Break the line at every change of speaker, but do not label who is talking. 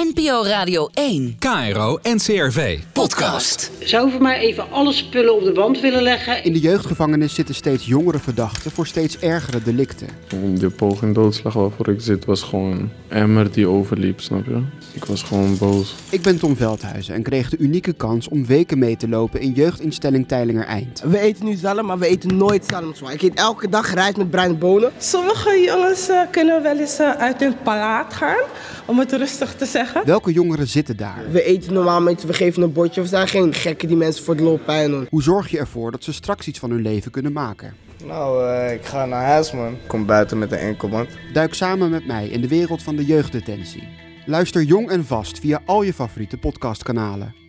NPO Radio 1.
KRO NCRV.
Podcast.
Zou voor mij even alle spullen op de wand willen leggen?
In de jeugdgevangenis zitten steeds jongere verdachten voor steeds ergere delicten.
De poging doodslag waarvoor ik zit was gewoon emmer die overliep, snap je? Ik was gewoon boos.
Ik ben Tom Veldhuizen en kreeg de unieke kans om weken mee te lopen in jeugdinstelling Teilinger Eind.
We eten nu zalm, maar we eten nooit zalmzwaar. Ik eet elke dag rijst met bruine bonen.
Sommige jongens eh, kunnen wel eens eh, uit hun palaat gaan, om het rustig te zeggen.
Welke jongeren zitten daar?
We eten normaal mensen, we geven een bordje. We zijn geen gekken die mensen voor de lol pijn doen.
Hoe zorg je ervoor dat ze straks iets van hun leven kunnen maken?
Nou, eh, ik ga naar huis, man. Ik kom buiten met een enkelband.
Duik samen met mij in de wereld van de jeugddetentie. Luister jong en vast via al je favoriete podcastkanalen.